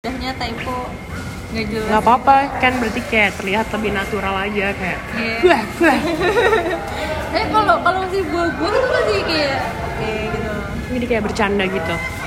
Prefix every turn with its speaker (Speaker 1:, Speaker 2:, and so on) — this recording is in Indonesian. Speaker 1: tulisannya typo nggak jelas
Speaker 2: nggak apa-apa kan berarti kayak terlihat lebih natural aja kayak
Speaker 1: Iya.
Speaker 2: wah wah
Speaker 1: eh, tapi kalau kalau masih buah-buah itu masih kayak oke gitu
Speaker 2: jadi kayak bercanda gitu